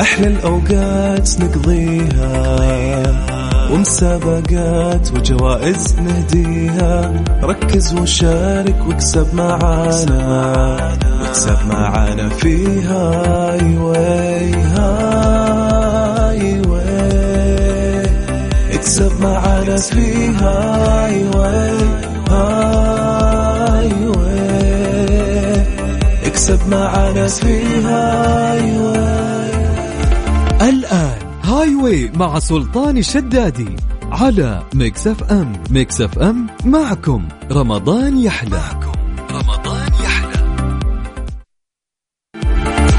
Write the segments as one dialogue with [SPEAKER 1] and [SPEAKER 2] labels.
[SPEAKER 1] أحلى الأوقات نقضيها ومسابقات وجوائز نهديها ركز وشارك واكسب معانا واكسب معانا في هاي واي هاي واي اكسب معانا في هاي واي هاي واي اكسب معانا في هاي واي
[SPEAKER 2] الآن هاي واي مع سلطان الشدادي على ميكس اف ام ميكس اف ام معكم رمضان يحلى رمضان يحلى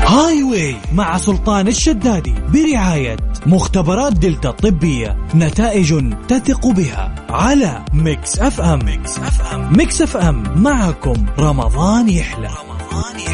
[SPEAKER 3] هاي واي مع سلطان الشدادي برعاية مختبرات دلتا الطبية نتائج تثق بها على ميكس اف ام ميكس اف ام ميكس اف ام معكم رمضان يحلى رمضان يحلى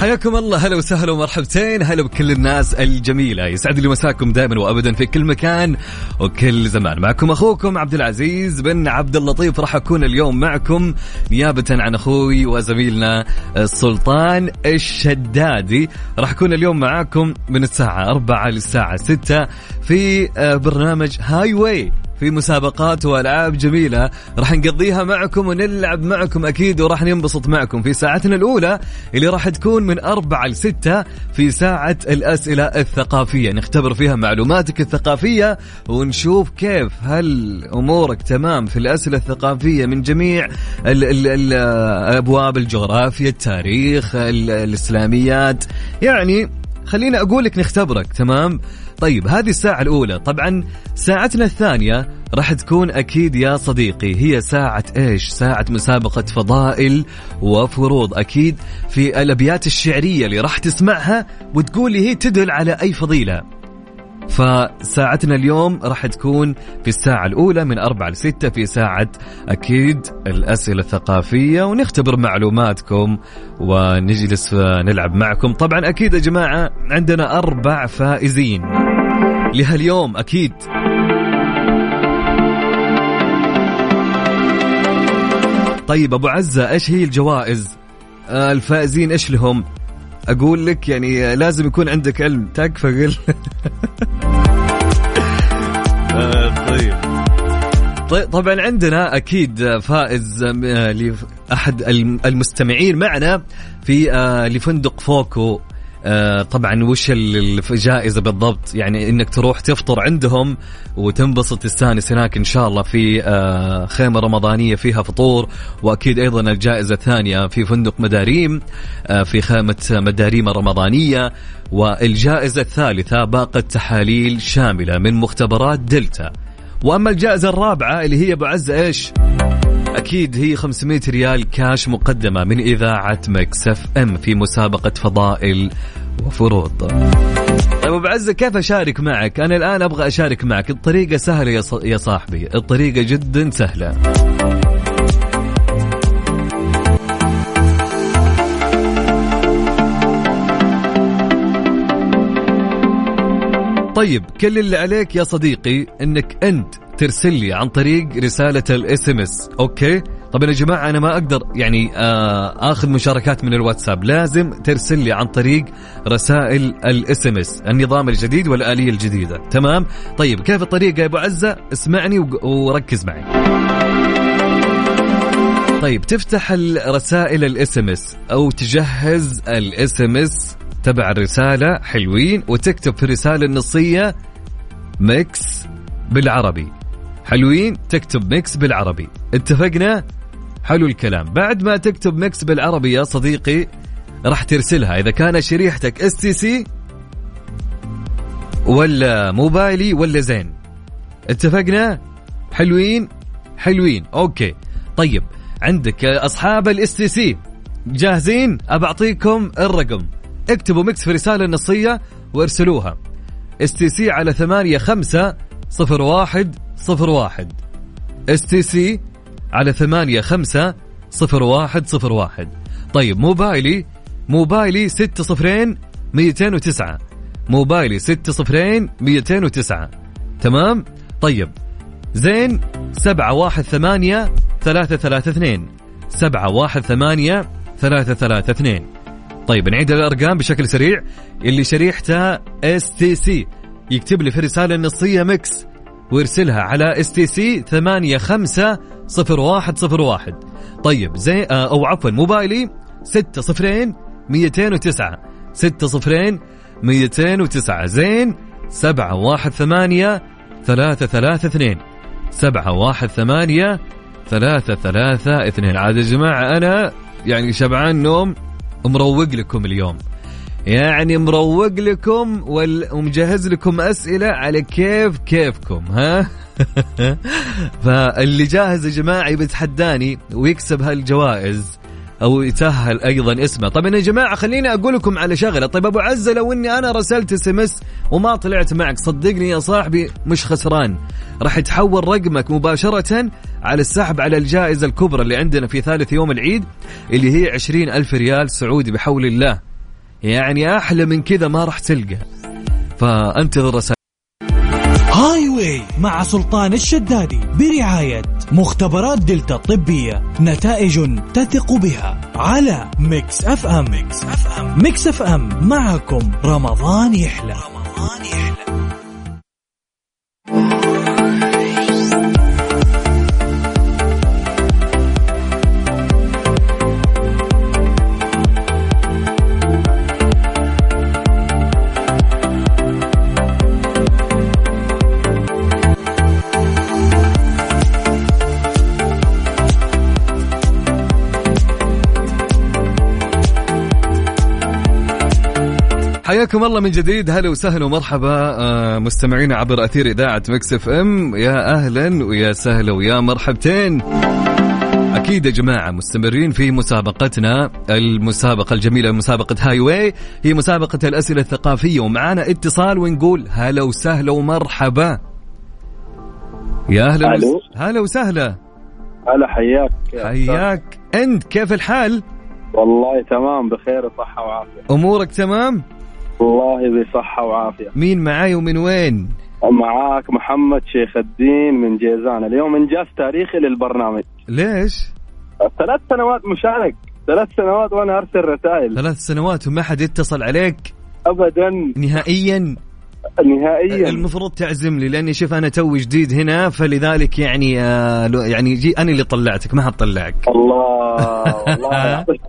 [SPEAKER 2] حياكم الله هلا وسهلا ومرحبتين هلا بكل الناس الجميلة يسعد لي مساكم دائما وابدا في كل مكان وكل زمان معكم اخوكم عبد العزيز بن عبد اللطيف راح اكون اليوم معكم نيابة عن اخوي وزميلنا السلطان الشدادي راح اكون اليوم معاكم من الساعة 4 للساعة 6 في آه، برنامج هاي واي في مسابقات والعاب جميله راح نقضيها معكم ونلعب معكم اكيد وراح ننبسط معكم في ساعتنا الاولى اللي راح تكون من أربعة ل 6 في ساعه الاسئله الثقافيه نختبر فيها معلوماتك الثقافيه ونشوف كيف هل امورك تمام في الاسئله الثقافيه من جميع ال ال ال ابواب الجغرافيا التاريخ ال الاسلاميات يعني خليني اقول لك نختبرك تمام طيب هذه الساعه الاولى طبعا ساعتنا الثانيه راح تكون اكيد يا صديقي هي ساعه ايش ساعه مسابقه فضائل وفروض اكيد في الابيات الشعريه اللي راح تسمعها وتقول لي هي تدل على اي فضيله فساعتنا اليوم راح تكون في الساعة الأولى من 4 ل 6 في ساعة أكيد الأسئلة الثقافية ونختبر معلوماتكم ونجلس نلعب معكم طبعا أكيد يا جماعة عندنا أربع فائزين لهاليوم أكيد طيب أبو عزة إيش هي الجوائز آه، الفائزين إيش لهم أقول لك يعني لازم يكون عندك علم تكفى قل طيب طي- طبعا طيب، عندنا اكيد فائز آه، لاحد الم- المستمعين معنا في آه، لفندق فوكو آه، طبعا وش ال- الجائزه بالضبط يعني انك تروح تفطر عندهم وتنبسط تستانس هناك ان شاء الله في آه، خيمه رمضانيه فيها فطور واكيد ايضا الجائزه الثانيه في فندق مداريم آه، في خيمه مداريم الرمضانيه والجائزه الثالثه باقه تحاليل شامله من مختبرات دلتا واما الجائزه الرابعه اللي هي ابو عزه ايش؟ اكيد هي 500 ريال كاش مقدمه من اذاعه مكسف ام في مسابقه فضائل وفروض. طيب ابو عزه كيف اشارك معك؟ انا الان ابغى اشارك معك، الطريقه سهله يا ص- يا صاحبي، الطريقه جدا سهله. طيب كل اللي عليك يا صديقي انك انت ترسل لي عن طريق رساله الاس ام اس اوكي طبعا يا جماعه انا ما اقدر يعني آه اخذ مشاركات من الواتساب لازم ترسل لي عن طريق رسائل الاس ام اس النظام الجديد والاليه الجديده تمام طيب كيف الطريقه يا ابو عزه اسمعني وق- وركز معي طيب تفتح الرسائل الاس ام اس او تجهز الاس ام اس تبع الرساله حلوين وتكتب في الرساله النصيه ميكس بالعربي حلوين تكتب ميكس بالعربي اتفقنا حلو الكلام بعد ما تكتب ميكس بالعربي يا صديقي راح ترسلها اذا كان شريحتك اس تي سي ولا موبايلي ولا زين اتفقنا حلوين حلوين اوكي طيب عندك اصحاب الاس تي سي جاهزين ابعطيكم الرقم اكتبوا ميكس في رساله نصيه وارسلوها اس تي سي على 8 5 صفر واحد صفر واحد اس تي سي على ثمانية خمسة صفر واحد صفر واحد طيب موبايلي موبايلي ستة صفرين ميتين وتسعة موبايلي ستة صفرين ميتين وتسعة تمام طيب زين سبعة واحد ثمانية ثلاثة ثلاثة اثنين سبعة واحد ثمانية ثلاثة ثلاثة اثنين طيب نعيد الأرقام بشكل سريع اللي شريحته اس تي سي يكتب لي في رسالة نصية ميكس ويرسلها على اس تي سي 850101 طيب زي آه، او عفوا موبايلي 6 صفرين 209 6 صفرين 209 زين 718 332 718 332 عاد يا جماعه انا يعني شبعان نوم ومروق لكم اليوم يعني مروق لكم وال- ومجهز لكم أسئلة على كيف كيفكم ها فاللي جاهز يا جماعة بتحداني ويكسب هالجوائز أو يتأهل أيضا اسمه طبعا يا جماعة خليني أقول لكم على شغلة طيب أبو عزة لو أني أنا رسلت اس ام اس وما طلعت معك صدقني يا صاحبي مش خسران راح يتحول رقمك مباشرة على السحب على الجائزة الكبرى اللي عندنا في ثالث يوم العيد اللي هي عشرين ألف ريال سعودي بحول الله يعني احلى من كذا ما راح تلقى فانتظر رسائل
[SPEAKER 3] هاي واي مع سلطان الشدادي برعاية مختبرات دلتا الطبية نتائج تثق بها على ميكس اف ام ميكس اف ام ميكس اف ام معكم رمضان يحلى رمضان يحلى
[SPEAKER 2] حياكم الله من جديد هلا وسهلا ومرحبا آه، مستمعينا عبر اثير اذاعه مكس اف ام يا اهلا ويا سهلا ويا مرحبتين اكيد يا جماعه مستمرين في مسابقتنا المسابقه الجميله مسابقه هاي واي هي مسابقه الاسئله الثقافيه ومعانا اتصال ونقول هلا وسهلا ومرحبا يا اهلا
[SPEAKER 4] ألو.
[SPEAKER 2] وس- هلا وسهلا
[SPEAKER 4] هلا حياك يا أستاذ.
[SPEAKER 2] حياك انت كيف الحال
[SPEAKER 4] والله تمام بخير وصحة وعافية
[SPEAKER 2] امورك تمام
[SPEAKER 4] والله بصحة وعافية
[SPEAKER 2] مين معاي ومن وين
[SPEAKER 4] معاك محمد شيخ الدين من جيزان اليوم انجاز تاريخي للبرنامج
[SPEAKER 2] ليش
[SPEAKER 4] ثلاث سنوات مشارك ثلاث سنوات وانا ارسل رسائل
[SPEAKER 2] ثلاث سنوات وما حد يتصل عليك
[SPEAKER 4] ابدا
[SPEAKER 2] نهائيا
[SPEAKER 4] نهائيا
[SPEAKER 2] المفروض تعزم لي لاني شوف انا توي جديد هنا فلذلك يعني آه لو- يعني جي انا اللي طلعتك ما حد طلعك
[SPEAKER 4] الله والله يعطيك.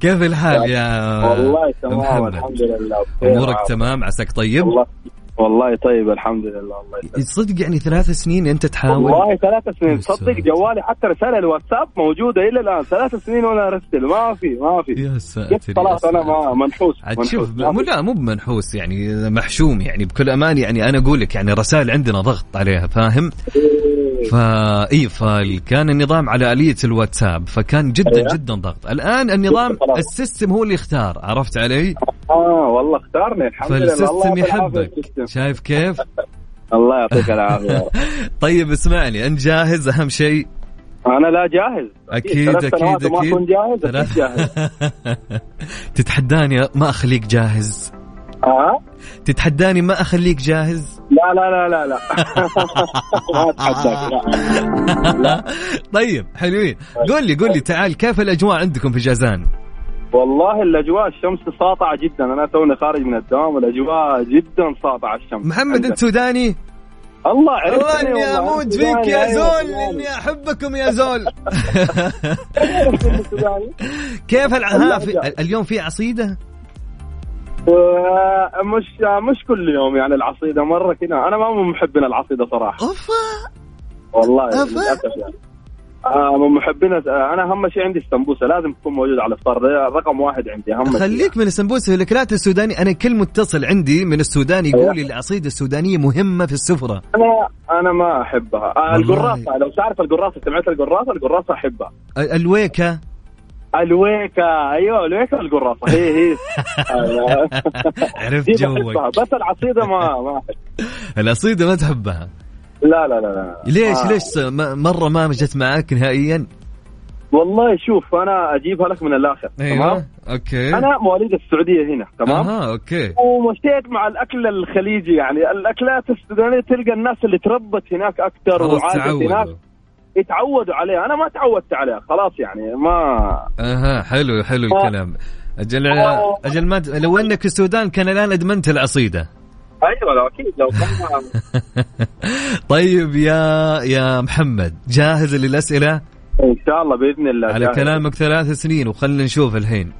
[SPEAKER 2] كيف الحال يا
[SPEAKER 4] والله تمام
[SPEAKER 2] آه، محمد
[SPEAKER 4] الحمد لله بخير
[SPEAKER 2] امورك
[SPEAKER 4] وعافية.
[SPEAKER 2] تمام عساك طيب
[SPEAKER 4] والله والله طيب الحمد لله الله يسلمك
[SPEAKER 2] صدق يعني ثلاث سنين انت تحاول
[SPEAKER 4] والله ثلاث سنين تصدق
[SPEAKER 2] يسعدك.
[SPEAKER 4] جوالي حتى رسائل الواتساب موجوده الى الان ثلاث سنين وانا ارسل ما في ما في
[SPEAKER 2] يا
[SPEAKER 4] جبت
[SPEAKER 2] ساتر
[SPEAKER 4] خلاص
[SPEAKER 2] يا
[SPEAKER 4] انا
[SPEAKER 2] ساتر.
[SPEAKER 4] ما منحوس
[SPEAKER 2] عاد
[SPEAKER 4] منحوس.
[SPEAKER 2] شوف
[SPEAKER 4] ما
[SPEAKER 2] مو
[SPEAKER 4] في.
[SPEAKER 2] لا مو بمنحوس يعني محشوم يعني بكل امان يعني انا اقول لك يعني رسائل عندنا ضغط عليها فاهم؟ فا اي فكان النظام على اليه الواتساب فكان جدا
[SPEAKER 4] أيوة.
[SPEAKER 2] جدا ضغط، الان النظام
[SPEAKER 4] خلاص.
[SPEAKER 2] السيستم هو اللي اختار عرفت علي؟
[SPEAKER 4] اه والله اختارني الحمد لله الله
[SPEAKER 2] فالسيستم
[SPEAKER 4] يعطيك العافية
[SPEAKER 2] يحبك
[SPEAKER 4] السيستم.
[SPEAKER 2] شايف كيف؟
[SPEAKER 4] الله يعطيك العافيه
[SPEAKER 2] طيب اسمعني انت جاهز اهم شيء
[SPEAKER 4] انا لا جاهز
[SPEAKER 2] اكيد
[SPEAKER 4] ثلاث
[SPEAKER 2] اكيد
[SPEAKER 4] سنوات وما اكون
[SPEAKER 2] اكيد
[SPEAKER 4] جاهز
[SPEAKER 2] ثلاث-
[SPEAKER 4] أكيد جاهز
[SPEAKER 2] تتحداني ما اخليك جاهز
[SPEAKER 4] آه؟
[SPEAKER 2] تتحداني ما اخليك جاهز
[SPEAKER 4] لا لا لا لا لا ما اتحداك لا
[SPEAKER 2] طيب حلوين قول لي قول لي تعال كيف الاجواء عندكم في جازان؟
[SPEAKER 4] والله الاجواء الشمس ساطعه جدا انا توني خارج من الدوام والاجواء جدا ساطعه الشمس
[SPEAKER 2] محمد
[SPEAKER 4] عندك.
[SPEAKER 2] انت سوداني
[SPEAKER 4] الله عرفتني
[SPEAKER 2] والله اني
[SPEAKER 4] والله.
[SPEAKER 2] اموت
[SPEAKER 4] أنت
[SPEAKER 2] فيك
[SPEAKER 4] سوداني،
[SPEAKER 2] يا
[SPEAKER 4] أيوة،
[SPEAKER 2] زول
[SPEAKER 4] سوداني.
[SPEAKER 2] اني احبكم يا زول
[SPEAKER 4] تعرف إني سوداني؟
[SPEAKER 2] كيف الع... ها
[SPEAKER 4] والله
[SPEAKER 2] في...
[SPEAKER 4] جاي.
[SPEAKER 2] اليوم في عصيده
[SPEAKER 4] و- آه، مش مش كل يوم يعني العصيده مره كذا انا ما من محبين العصيده صراحه
[SPEAKER 2] اوفا
[SPEAKER 4] والله
[SPEAKER 2] أفا.
[SPEAKER 4] للاسف يعني آه من محبين انا اهم شيء عندي السمبوسه لازم تكون موجوده على الافطار ده رقم واحد عندي اهم شيء.
[SPEAKER 2] خليك من السمبوسه والاكلات السوداني انا كل متصل عندي من السودان
[SPEAKER 4] أيوة.
[SPEAKER 2] يقول لي العصيده السودانيه مهمه في السفره
[SPEAKER 4] انا انا ما احبها آه
[SPEAKER 2] والله.
[SPEAKER 4] القراصه لو تعرف القراصه سمعت القراصه القراصه احبها
[SPEAKER 2] ال- الويكه
[SPEAKER 4] الويكا ايوه الويكا والقراصه هي هي أيوة.
[SPEAKER 2] عرفت
[SPEAKER 4] دي
[SPEAKER 2] جوك
[SPEAKER 4] بحبها بس العصيده ما ما أحب.
[SPEAKER 2] العصيده ما تحبها
[SPEAKER 4] لا لا لا لا
[SPEAKER 2] ليش
[SPEAKER 4] آه.
[SPEAKER 2] ليش ما- مره ما جت معك نهائيا
[SPEAKER 4] والله شوف انا اجيبها لك من الاخر
[SPEAKER 2] إيوه.
[SPEAKER 4] تمام
[SPEAKER 2] اوكي
[SPEAKER 4] انا مواليد السعوديه هنا أيوة. تمام
[SPEAKER 2] اها اوكي
[SPEAKER 4] ومشيت مع الاكل الخليجي يعني الاكلات السودانيه تلقى الناس اللي تربت هناك اكثر
[SPEAKER 2] خلاص
[SPEAKER 4] وعادت هناك
[SPEAKER 2] تعودوا
[SPEAKER 4] يتعودوا عليها انا ما تعودت عليها خلاص يعني ما
[SPEAKER 2] اها حلو حلو
[SPEAKER 4] آه.
[SPEAKER 2] الكلام اجل
[SPEAKER 4] آه.
[SPEAKER 2] اجل ما د- لو انك السودان كان الان ادمنت العصيده
[SPEAKER 4] ايوه لو اكيد لو كان
[SPEAKER 2] طيب يا يا محمد جاهز للاسئله
[SPEAKER 4] ان شاء الله باذن الله
[SPEAKER 2] على
[SPEAKER 4] جاهز.
[SPEAKER 2] كلامك ثلاث سنين وخلنا نشوف الحين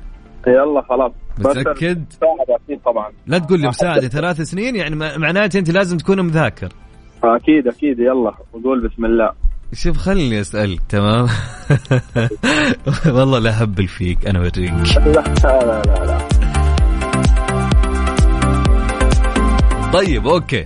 [SPEAKER 4] يلا خلاص
[SPEAKER 2] متأكد؟
[SPEAKER 4] مساعد اكيد طبعا
[SPEAKER 2] لا تقول لي مساعده ثلاث سنين يعني مع- معناته انت لازم تكون مذاكر
[SPEAKER 4] اكيد اكيد يلا نقول بسم الله
[SPEAKER 2] شوف خلني اسالك تمام والله لا هبل فيك انا اوريك
[SPEAKER 4] لا لا لا, لا.
[SPEAKER 2] طيب اوكي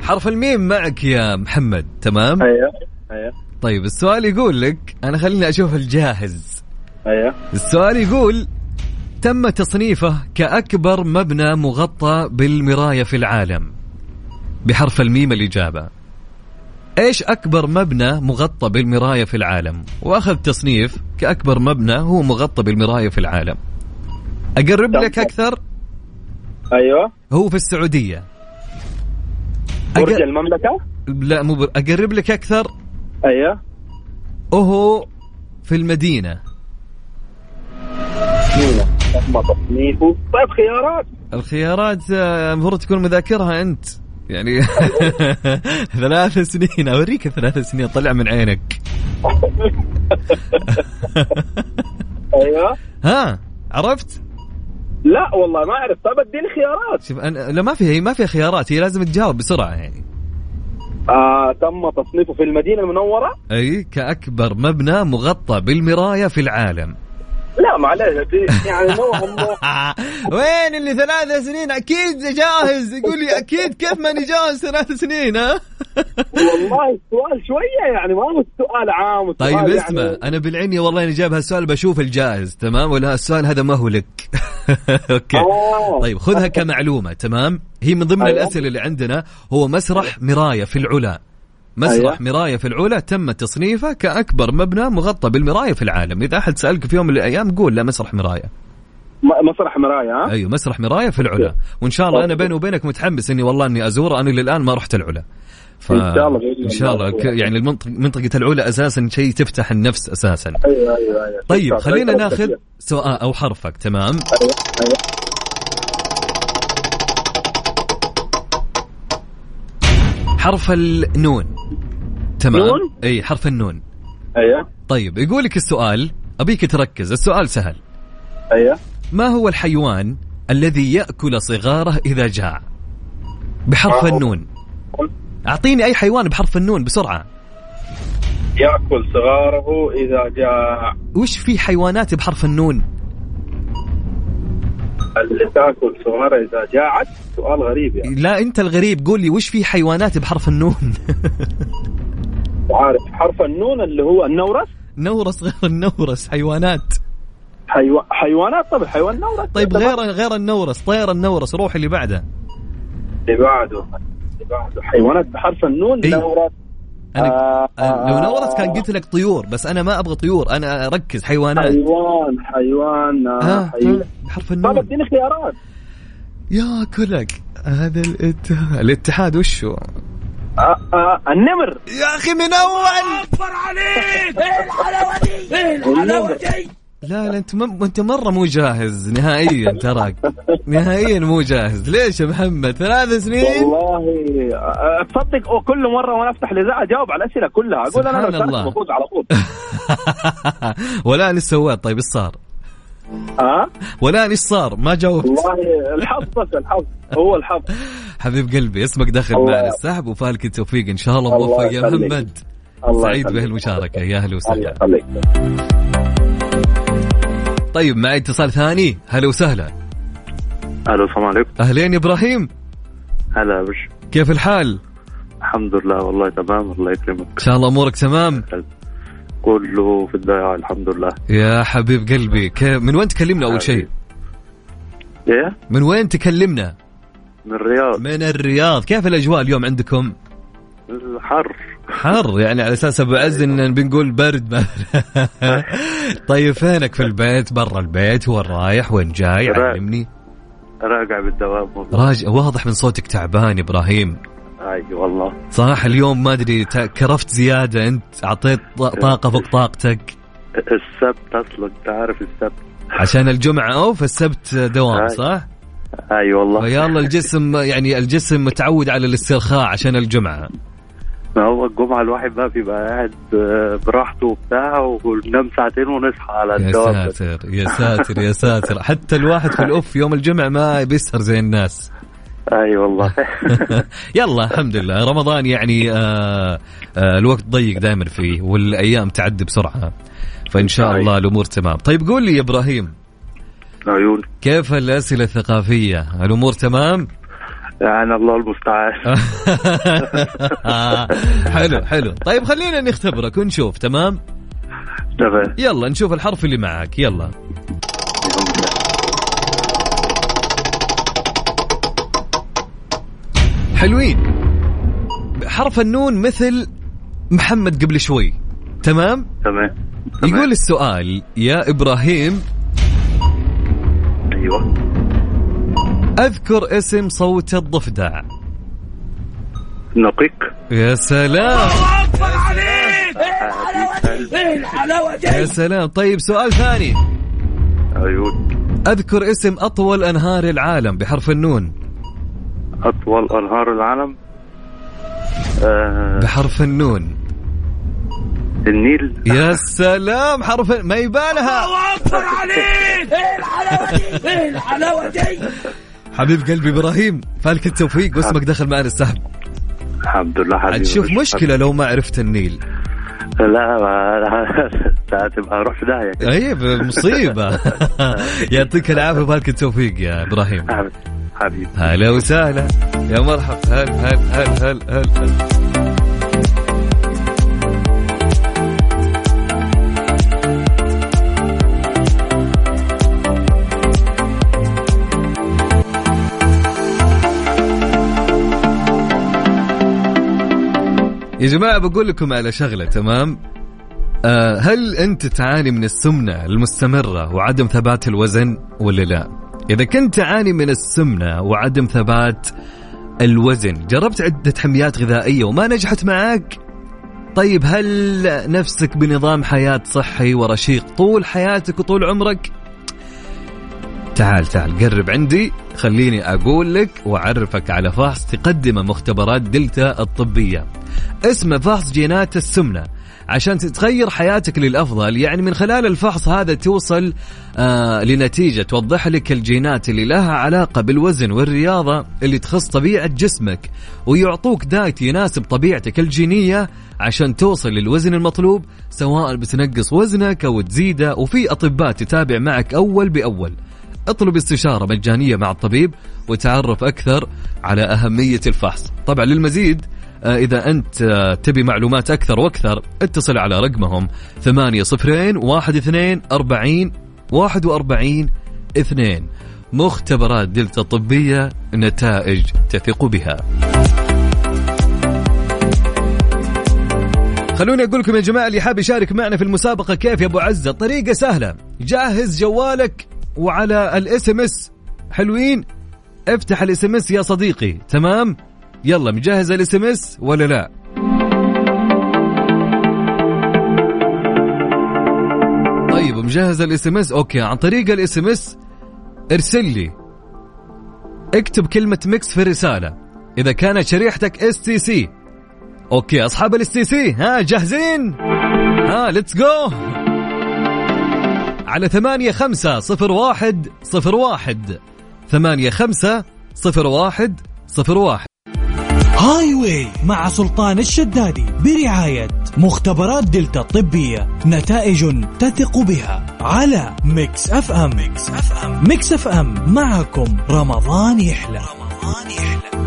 [SPEAKER 2] حرف الميم معك يا محمد تمام
[SPEAKER 4] ايوه ايوه
[SPEAKER 2] طيب السؤال يقول لك انا خليني اشوف الجاهز
[SPEAKER 4] ايوه
[SPEAKER 2] السؤال يقول تم تصنيفه كأكبر مبنى مغطى بالمراية في العالم بحرف الميم الإجابة إيش أكبر مبنى مغطى بالمراية في العالم وأخذ تصنيف كأكبر مبنى هو مغطى بالمراية في العالم أقرب لك أكثر
[SPEAKER 4] ايوه
[SPEAKER 2] هو في السعودية
[SPEAKER 4] برج
[SPEAKER 2] أقر...
[SPEAKER 4] المملكه
[SPEAKER 2] لا مو بر... أقرب لك أكثر
[SPEAKER 4] ايوه
[SPEAKER 2] وهو في المدينة
[SPEAKER 4] مينا تم تصنيفه طيب خيارات
[SPEAKER 2] الخيارات آه، المفروض تكون مذاكرها انت يعني ثلاث سنين اوريك ثلاث سنين طلع من عينك
[SPEAKER 4] ايوه
[SPEAKER 2] ها عرفت
[SPEAKER 4] لا والله ما اعرف طيب اديني خيارات
[SPEAKER 2] شوف انا لا ما فيها هي ما فيها خيارات هي لازم تجاوب بسرعه يعني
[SPEAKER 4] آه تم تصنيفه في المدينه المنوره
[SPEAKER 2] اي كاكبر مبنى مغطى بالمرايه في العالم آه،
[SPEAKER 4] لا معلش دي- يعني نوعا ما
[SPEAKER 2] وين اللي ثلاث سنين اكيد جاهز يقول لي اكيد كيف ماني جاهز ثلاث سنين ها
[SPEAKER 4] والله السؤال شويه يعني ما هو السؤال عام والسؤال
[SPEAKER 2] طيب
[SPEAKER 4] يعني-
[SPEAKER 2] اسمع انا بالعيني والله اني جاب هالسؤال بشوف الجائز تمام ولا السؤال هذا ما هو لك اوكي
[SPEAKER 4] آه.
[SPEAKER 2] طيب خذها كمعلومه تمام هي من ضمن
[SPEAKER 4] أيوة.
[SPEAKER 2] الاسئله اللي عندنا هو
[SPEAKER 4] أيوه.
[SPEAKER 2] مسرح مرايه في العلا مسرح
[SPEAKER 4] أيوة.
[SPEAKER 2] مرايه في العلا تم تصنيفه كاكبر مبنى مغطى بالمرايه في العالم اذا احد سالك في يوم من الايام قول لا مسرح مرايه
[SPEAKER 4] أه؟ م- مسرح مرايه ها
[SPEAKER 2] ايوه مسرح مرايه في العلا وان شاء الله انا بيني وبينك متحمس اني والله اني ازوره انا للان ما رحت العلا ف...
[SPEAKER 4] إن شاء الله بإذن
[SPEAKER 2] ان شاء الله
[SPEAKER 4] الله.
[SPEAKER 2] ك- يعني المنطقه منطقه العلا اساسا شيء تفتح النفس اساسا
[SPEAKER 4] ايوه ايوه ايوه
[SPEAKER 2] طيب خلينا
[SPEAKER 4] طيب،
[SPEAKER 2] ناخذ
[SPEAKER 4] طيب.
[SPEAKER 2] سؤال او حرفك تمام
[SPEAKER 4] أيوة، أيوة.
[SPEAKER 2] حرف النون تمام
[SPEAKER 4] نون؟
[SPEAKER 2] اي حرف النون
[SPEAKER 4] ايوه
[SPEAKER 2] طيب يقول لك السؤال ابيك تركز السؤال سهل
[SPEAKER 4] ايوه
[SPEAKER 2] ما هو الحيوان الذي ياكل صغاره اذا جاع بحرف
[SPEAKER 4] ما هو؟
[SPEAKER 2] النون اعطيني اي حيوان بحرف النون بسرعه
[SPEAKER 4] ياكل صغاره اذا جاع
[SPEAKER 2] وش في حيوانات بحرف النون
[SPEAKER 4] اللي تاكل صغاره اذا جاعت سؤال غريب يعني
[SPEAKER 2] لا انت الغريب قول لي وش في حيوانات بحرف النون
[SPEAKER 4] عارف حرف النون اللي هو النورس
[SPEAKER 2] نورس غير النورس حيوانات
[SPEAKER 4] حيو... حيوانات طبعا حيوان نورس
[SPEAKER 2] طيب غير غير النورس طير النورس روح اللي بعده
[SPEAKER 4] اللي بعده اللي بعده حيوانات بحرف النون
[SPEAKER 2] إيه.
[SPEAKER 4] نورس
[SPEAKER 2] انا
[SPEAKER 4] آه،
[SPEAKER 2] لو نورت كان قلت لك طيور بس انا ما ابغى طيور انا اركز حيوانات
[SPEAKER 4] آه، حيوان حيوان أيوة، آه،
[SPEAKER 2] ها
[SPEAKER 4] حيوان
[SPEAKER 2] بحرف
[SPEAKER 4] طب
[SPEAKER 2] النون
[SPEAKER 4] اديني خيارات
[SPEAKER 2] ياكلك هذا الاتحاد الاتحاد وشو
[SPEAKER 4] آه، آه، النمر
[SPEAKER 2] يا اخي من اول
[SPEAKER 4] النمر
[SPEAKER 2] لا لا انت م... انت مره مو جاهز نهائيا تراك نهائيا مو جاهز ليش يا محمد ثلاث سنين
[SPEAKER 4] والله آه، تصدق أو كل مره وانا افتح الاذاعه اجاوب على الاسئله كلها اقول انا
[SPEAKER 2] سبحان
[SPEAKER 4] لو سالت
[SPEAKER 2] الله.
[SPEAKER 4] بفوز على طول
[SPEAKER 2] ولا ايش سويت طيب ايش صار؟
[SPEAKER 4] ها
[SPEAKER 2] ولا ايش صار؟ ما جاوبت
[SPEAKER 4] آه، والله الحظ بس الحظ هو الحظ
[SPEAKER 2] حبيب قلبي اسمك داخل
[SPEAKER 4] الله
[SPEAKER 2] معنا
[SPEAKER 4] يسعدك.
[SPEAKER 2] السحب وفالك التوفيق ان شاء الله
[SPEAKER 4] الله
[SPEAKER 2] موفق يا
[SPEAKER 4] يخليك.
[SPEAKER 2] محمد
[SPEAKER 4] الله
[SPEAKER 2] سعيد
[SPEAKER 4] يخليك.
[SPEAKER 2] بهالمشاركه يا اهلا
[SPEAKER 4] الله
[SPEAKER 2] وسهلا
[SPEAKER 4] يخليك
[SPEAKER 2] طيب معي اتصال ثاني هلا وسهلا
[SPEAKER 5] الو السلام عليكم
[SPEAKER 2] اهلين يا ابراهيم
[SPEAKER 5] هلا يا بش
[SPEAKER 2] كيف الحال؟
[SPEAKER 5] الحمد لله والله تمام الله يكرمك
[SPEAKER 2] ان شاء الله امورك تمام
[SPEAKER 5] كله في الضيعه الحمد لله
[SPEAKER 2] يا حبيب قلبي كيف من وين تكلمنا اول شيء؟
[SPEAKER 5] ايه
[SPEAKER 2] من وين تكلمنا؟
[SPEAKER 5] من الرياض
[SPEAKER 2] من الرياض كيف الاجواء اليوم عندكم؟
[SPEAKER 5] الحر
[SPEAKER 2] حر يعني على اساس ابو عز ان بنقول برد ما- طيب فينك في البيت برا البيت وين رايح وين جاي
[SPEAKER 5] برا-
[SPEAKER 2] علمني
[SPEAKER 5] راجع بالدوام والله
[SPEAKER 2] راجع واضح من صوتك تعبان يا ابراهيم
[SPEAKER 5] اي والله
[SPEAKER 2] صراحة اليوم ما ادري ت- كرفت زيادة انت اعطيت ط- طاقة فوق طاقتك
[SPEAKER 5] السبت اصلا تعرف السبت
[SPEAKER 2] عشان الجمعة او فالسبت دوام صح؟
[SPEAKER 5] اي والله
[SPEAKER 2] فيلا الجسم يعني الجسم متعود على الاسترخاء عشان الجمعة
[SPEAKER 5] ما هو الجمعه الواحد بقى بيبقى قاعد آه، براحته وبتاع وننام ساعتين ونصحى على
[SPEAKER 2] يا
[SPEAKER 5] الدوام
[SPEAKER 2] ساتر يا ساتر يا ساتر حتى الواحد في الاوف يوم الجمعة ما بيسهر زي الناس
[SPEAKER 5] اي والله
[SPEAKER 2] يلا الحمد لله رمضان يعني آه آه الوقت ضيق دائما فيه والايام تعدي بسرعه فان شاء
[SPEAKER 5] صحيح.
[SPEAKER 2] الله الامور تمام طيب قول لي يا ابراهيم
[SPEAKER 5] عيون
[SPEAKER 2] كيف الاسئله الثقافيه الامور تمام
[SPEAKER 5] يعني الله المستعان
[SPEAKER 2] حلو حلو طيب خلينا نختبرك ونشوف تمام
[SPEAKER 5] تمام
[SPEAKER 2] يلا نشوف الحرف اللي معك يلا حلوين حرف النون مثل محمد قبل شوي تمام
[SPEAKER 5] تمام تمام.
[SPEAKER 2] يقول السؤال يا ابراهيم
[SPEAKER 5] ايوه
[SPEAKER 2] اذكر اسم صوت الضفدع
[SPEAKER 5] نقيق
[SPEAKER 2] يا سلام يا سلام طيب سؤال ثاني
[SPEAKER 5] عيون
[SPEAKER 2] اذكر اسم اطول انهار العالم بحرف النون
[SPEAKER 5] اطول انهار العالم آه
[SPEAKER 2] بحرف النون
[SPEAKER 5] النيل
[SPEAKER 2] يا سلام حرف ما يبالها حبيب قلبي ابراهيم فالك التوفيق واسمك دخل معنا السحب
[SPEAKER 5] الحمد لله حبيبي
[SPEAKER 2] حتشوف مشكله لو ما عرفت النيل
[SPEAKER 5] لا ما- لا تبقى اروح في داهيه كده.
[SPEAKER 2] اي مصيبه أيوة، يعطيك العافيه وفالك التوفيق يا ابراهيم
[SPEAKER 5] حبيبي- حبيبي
[SPEAKER 2] طيب. هلا وسهلا يا مرحب هل هل هل هل هل, هل. يا جماعة بقول لكم على شغلة تمام آه هل أنت تعاني من السمنة المستمرة وعدم ثبات الوزن ولا لا إذا كنت تعاني من السمنة وعدم ثبات الوزن جربت عدة حميات غذائية وما نجحت معاك طيب هل نفسك بنظام حياة صحي ورشيق طول حياتك وطول عمرك تعال تعال قرب عندي خليني أقول لك وأعرفك على فحص تقدمه مختبرات دلتا الطبية اسمه فحص جينات السمنة عشان تتغير حياتك للأفضل يعني من خلال الفحص هذا توصل آه لنتيجة توضح لك الجينات اللي لها علاقة بالوزن والرياضة اللي تخص طبيعة جسمك ويعطوك دايت يناسب طبيعتك الجينية عشان توصل للوزن المطلوب سواء بتنقص وزنك أو تزيده وفي أطباء تتابع معك أول بأول اطلب استشارة مجانية مع الطبيب وتعرف أكثر على أهمية الفحص طبعا للمزيد آه، إذا أنت آه، تبي معلومات أكثر وأكثر اتصل على رقمهم 8 واحد اثنين أربعين واحد وأربعين اثنين مختبرات دلتا الطبية نتائج تثق بها خلوني اقول لكم يا جماعه اللي حاب يشارك معنا في المسابقه كيف يا ابو عزه طريقه سهله جهز جوالك وعلى الاس ام اس حلوين افتح الاس ام اس يا صديقي تمام يلا مجهز الاس ام اس ولا لا طيب مجهز الاس ام اس اوكي عن طريق الاس ام اس ارسل لي اكتب كلمة ميكس في الرسالة إذا كانت شريحتك اس تي سي اوكي اصحاب الاس تي سي ها جاهزين ها ليتس جو على ثمانية خمسة صفر واحد صفر واحد ثمانية خمسة صفر واحد صفر واحد
[SPEAKER 3] هاي واي مع سلطان الشدادي برعاية مختبرات دلتا الطبية نتائج تثق بها على ميكس اف ام ميكس اف ام ميكس اف ام معكم رمضان يحلى رمضان يحلى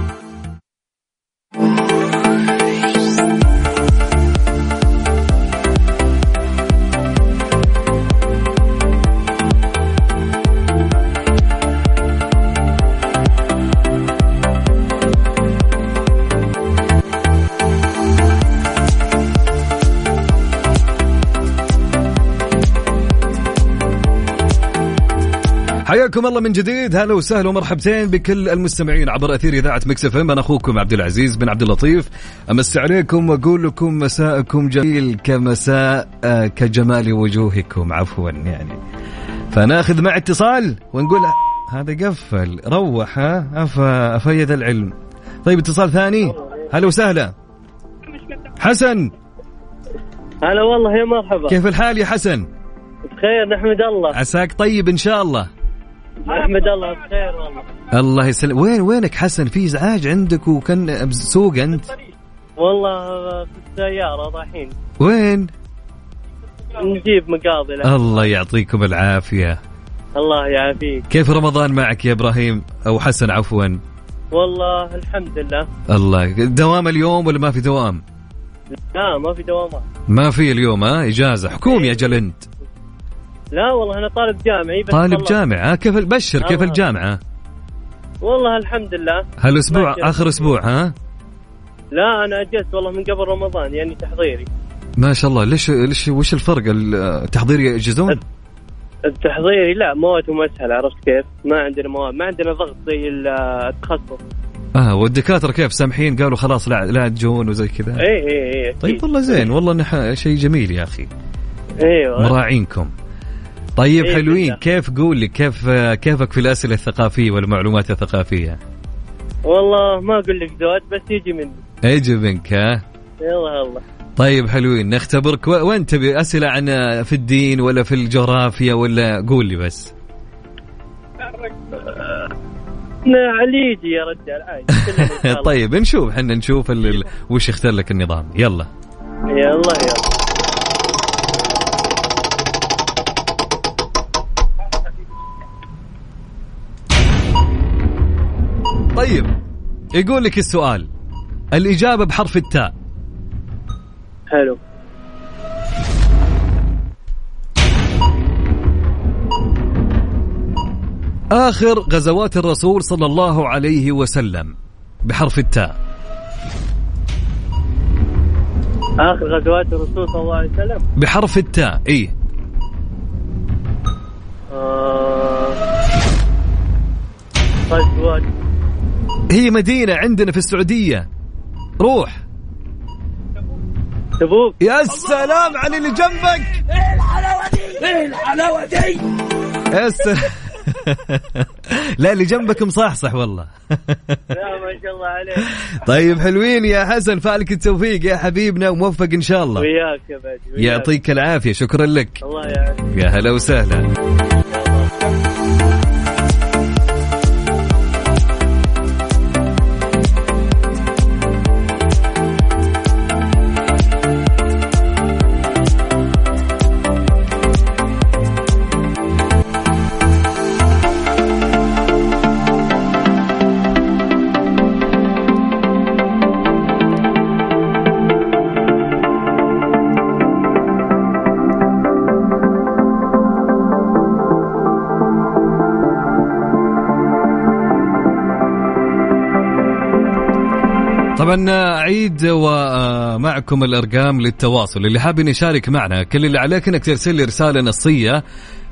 [SPEAKER 2] حياكم الله من جديد هلا وسهلا ومرحبتين بكل المستمعين عبر اثير اذاعه مكس اف ام انا اخوكم عبد العزيز بن عبد اللطيف امسي عليكم واقول لكم مساءكم جميل كمساء آه، كجمال وجوهكم عفوا يعني فناخذ مع اتصال ونقول هذا قفل روح ها أفا أفيد العلم طيب اتصال ثاني هلا وسهلا حسن
[SPEAKER 6] هلا والله يا مرحبا
[SPEAKER 2] كيف الحال يا حسن
[SPEAKER 6] بخير نحمد الله
[SPEAKER 2] عساك طيب ان شاء الله
[SPEAKER 6] نحمد الله بخير والله
[SPEAKER 2] الله يسلم وين وينك حسن في ازعاج عندك وكان بسوق انت
[SPEAKER 6] والله في السيارة رايحين
[SPEAKER 2] وين
[SPEAKER 6] نجيب مقاضي له
[SPEAKER 2] الله يعطيكم العافيه
[SPEAKER 6] الله يعافيك
[SPEAKER 2] كيف رمضان معك يا ابراهيم او حسن عفوا
[SPEAKER 6] والله الحمد لله
[SPEAKER 2] الله دوام اليوم ولا ما في دوام
[SPEAKER 6] لا ما في دوامات
[SPEAKER 2] ما في اليوم ها اجازه حكومي اجل انت
[SPEAKER 6] لا والله انا طالب جامعي بس
[SPEAKER 2] طالب
[SPEAKER 6] خلصت.
[SPEAKER 2] جامعه كيف بشر كيف
[SPEAKER 6] الله.
[SPEAKER 2] الجامعه
[SPEAKER 6] والله الحمد لله
[SPEAKER 2] هالاسبوع
[SPEAKER 6] بشر.
[SPEAKER 2] اخر اسبوع ها
[SPEAKER 6] لا انا اجلت والله من قبل رمضان يعني تحضيري
[SPEAKER 2] ما شاء الله ليش ليش وش الفرق التحضير يجزون
[SPEAKER 6] التحضيري لا مواد ومسهل عرفت كيف؟ ما عندنا مواد ما عندنا ضغط زي ال- التخصص
[SPEAKER 2] اه والدكاتره كيف سامحين قالوا خلاص لا لا تجون وزي كذا
[SPEAKER 6] اي اي اي أكيد.
[SPEAKER 2] طيب والله زين والله انه شيء جميل يا اخي
[SPEAKER 6] ايوه
[SPEAKER 2] مراعينكم طيب
[SPEAKER 6] إيه
[SPEAKER 2] حلوين
[SPEAKER 6] بالله.
[SPEAKER 2] كيف قول لي كيف كيفك في الاسئله الثقافيه والمعلومات الثقافيه
[SPEAKER 6] والله ما اقول لك زود بس يجي مني
[SPEAKER 2] اجي منك ها
[SPEAKER 6] يلا الله
[SPEAKER 2] طيب حلوين نختبرك و- وين تبي اسئله عن في الدين ولا في الجغرافيا ولا قول لي بس
[SPEAKER 6] علي يجي يا رجال عادي كلنا إن شاء الله.
[SPEAKER 2] طيب نشوف حنا نشوف ال... ال- وش اختار لك النظام يلا
[SPEAKER 6] يلا يلا
[SPEAKER 2] طيب يقول لك السؤال الاجابه بحرف التاء
[SPEAKER 6] حلو
[SPEAKER 2] اخر غزوات الرسول صلى الله عليه وسلم بحرف التاء
[SPEAKER 6] اخر غزوات الرسول صلى الله عليه وسلم
[SPEAKER 2] بحرف التاء ايه
[SPEAKER 6] آه، غزوات
[SPEAKER 2] هي مدينة عندنا في السعودية روح
[SPEAKER 6] تبوك
[SPEAKER 2] يا سلام على اللي جنبك ايه الحلاوة دي ايه الحلاوة دي يا سلام لا اللي جنبك مصحصح والله
[SPEAKER 6] لا ما شاء الله عليك
[SPEAKER 2] طيب حلوين يا حسن فالك التوفيق يا حبيبنا وموفق ان شاء الله
[SPEAKER 6] وياك يا باجي وياك.
[SPEAKER 2] يعطيك العافية شكرا لك
[SPEAKER 6] الله يعافيك
[SPEAKER 2] يا هلا وسهلا طبعا اعيد ومعكم الارقام للتواصل اللي حابب يشارك معنا كل اللي عليك انك ترسل لي رساله نصيه